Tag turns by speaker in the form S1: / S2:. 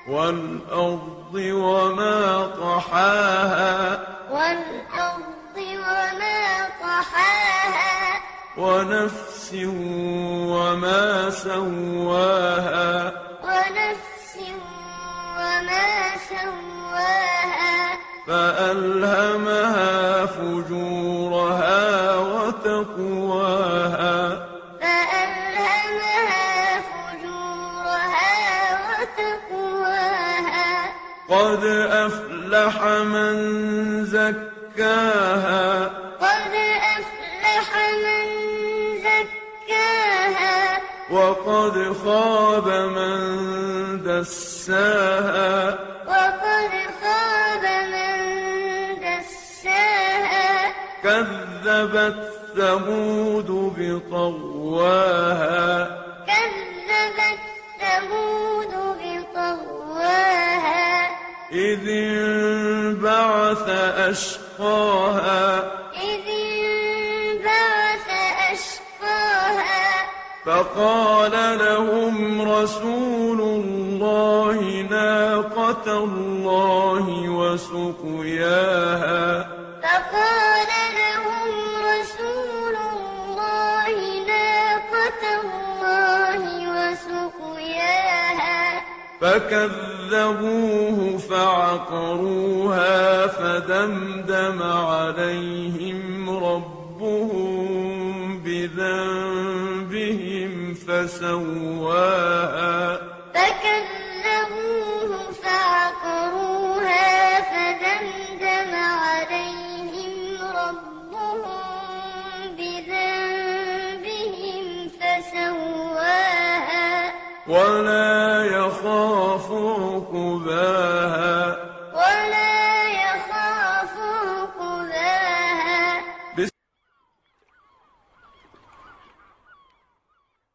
S1: والأرض وما طحاها
S2: والأرض وما طحاها
S1: ونفس وما سواها
S2: ونفس وما سواها فألهمها
S1: فجورها وتقواها
S2: فألهمها فجورها وتقواها
S1: قد أفلح من زكاها
S2: قد أفلح من زكاها
S1: وقد خاب من دساها
S2: وقد خاب من دساها
S1: كذبت ثمود بطغواها
S2: كذبت ثمود بطغواها
S1: إذ انبعث أشقاها
S2: إذ انبعث أشقاها
S1: فقال لهم رسول الله ناقة الله وسقياها
S2: فقال لهم رسول الله ناقة الله وسقياها
S1: فكذبوه فعقروها فدمدم عليهم ربهم بذنبهم فسواها
S2: فكذبوه فعقروها فدمدم